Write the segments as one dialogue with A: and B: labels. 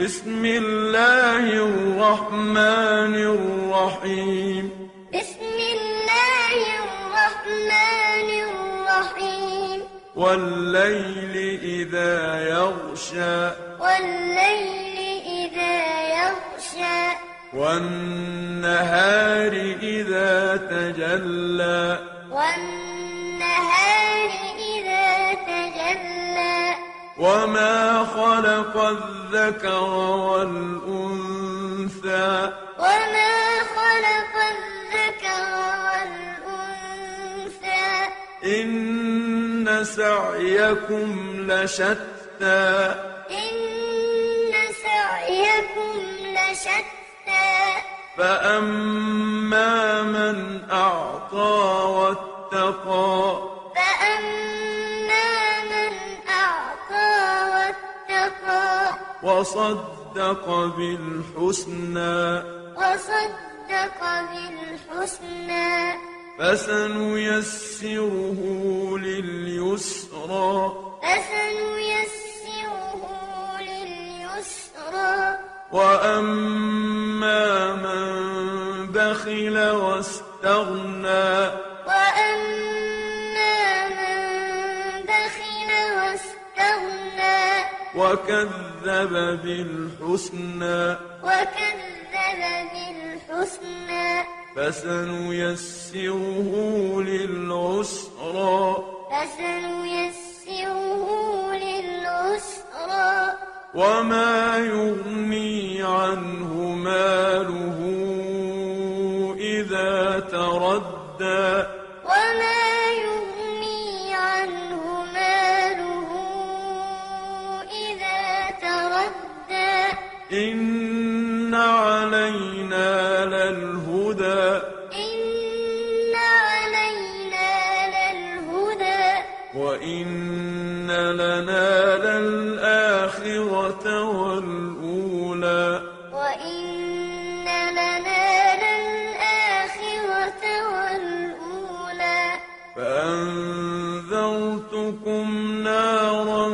A: بسم الله الرحمن الرحيم
B: بسم الله الرحمن الرحيم
A: والليل إذا يغشى
B: والليل إذا يغشى
A: والنهار إذا تجلى
B: والنهار إذا تجلى
A: وما خلق الذكر والأنثى
B: وما خلق الذكر والأنثى
A: إن سعيكم لشتى
B: إن سعيكم لشتى
A: فأما من أعطى واتقى
B: فأما من أعطى واتقى
A: وصدق بالحسنى
B: وصدق بالحسنى
A: فسنيسره لليسرى
B: فسنيسره لليسرى
A: وأما من بخل واستغنى
B: وأما من بخل واستغنى
A: وكذب بالحسنى
B: وكذب بالحسنى
A: فسنيسره للعسرى
B: فسنيسره للعسرى
A: وما يغني عنه ماله إذا تردى
B: وما يغني عنه ماله إذا تردى
A: إن علينا للهدى
B: إن علينا للهدى
A: وإن لنا للآخرة والأولى
B: وإن لنا للآخرة والأولى
A: فأنذرتكم نارا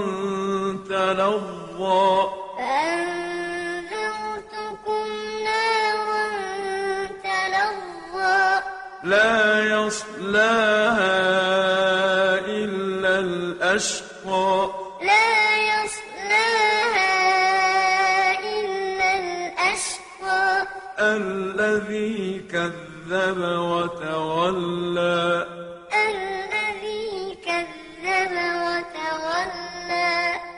A: تلظى
B: فأنذرتكم نارا تلظى
A: لا يصلاها إلا الأشقى
B: لا يصلاها إلا الأشقى
A: الذي كذب وتولى
B: الذي كذب وتولى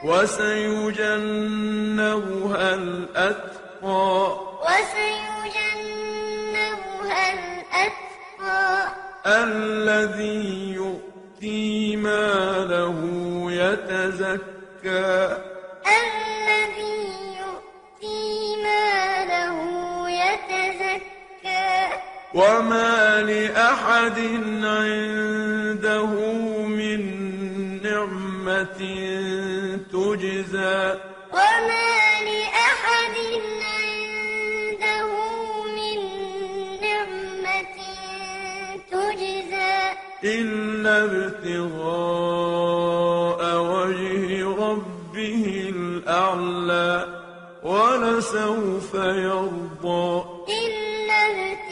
A: وسيجنبها الأتقى
B: وسيجنبها الأتقى
A: الذي يؤتي ماله يتزكى
B: الذي يؤتي ماله يتزكى
A: وما لأحد عنده من نعمة تجزى
B: وما لأحد عنده من نعمة تجزى
A: إلا ابتغاء وجه ربه الأعلى ولسوف يرضى
B: إلا ابتغاء